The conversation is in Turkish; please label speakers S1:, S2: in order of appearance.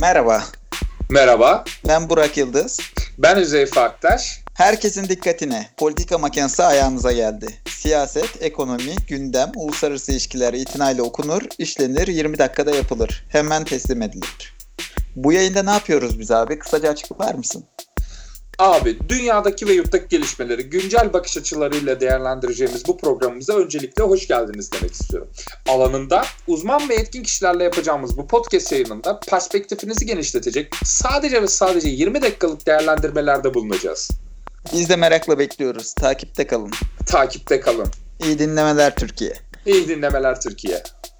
S1: Merhaba,
S2: Merhaba,
S1: ben Burak Yıldız.
S2: ben Üzeyf Aktaş.
S1: Herkesin dikkatine, politika makinesi ayağınıza geldi. Siyaset, ekonomi, gündem, uluslararası ilişkiler itinayla okunur, işlenir, 20 dakikada yapılır. Hemen teslim edilir. Bu yayında ne yapıyoruz biz abi? Kısaca açıklar mısın?
S2: Abi, dünyadaki ve yurttaki gelişmeleri güncel bakış açılarıyla değerlendireceğimiz bu programımıza öncelikle hoş geldiniz demek istiyorum. Alanında uzman ve etkin kişilerle yapacağımız bu podcast yayınında perspektifinizi genişletecek sadece ve sadece 20 dakikalık değerlendirmelerde bulunacağız.
S1: Biz de merakla bekliyoruz. Takipte kalın.
S2: Takipte kalın.
S1: İyi dinlemeler Türkiye.
S2: İyi dinlemeler Türkiye.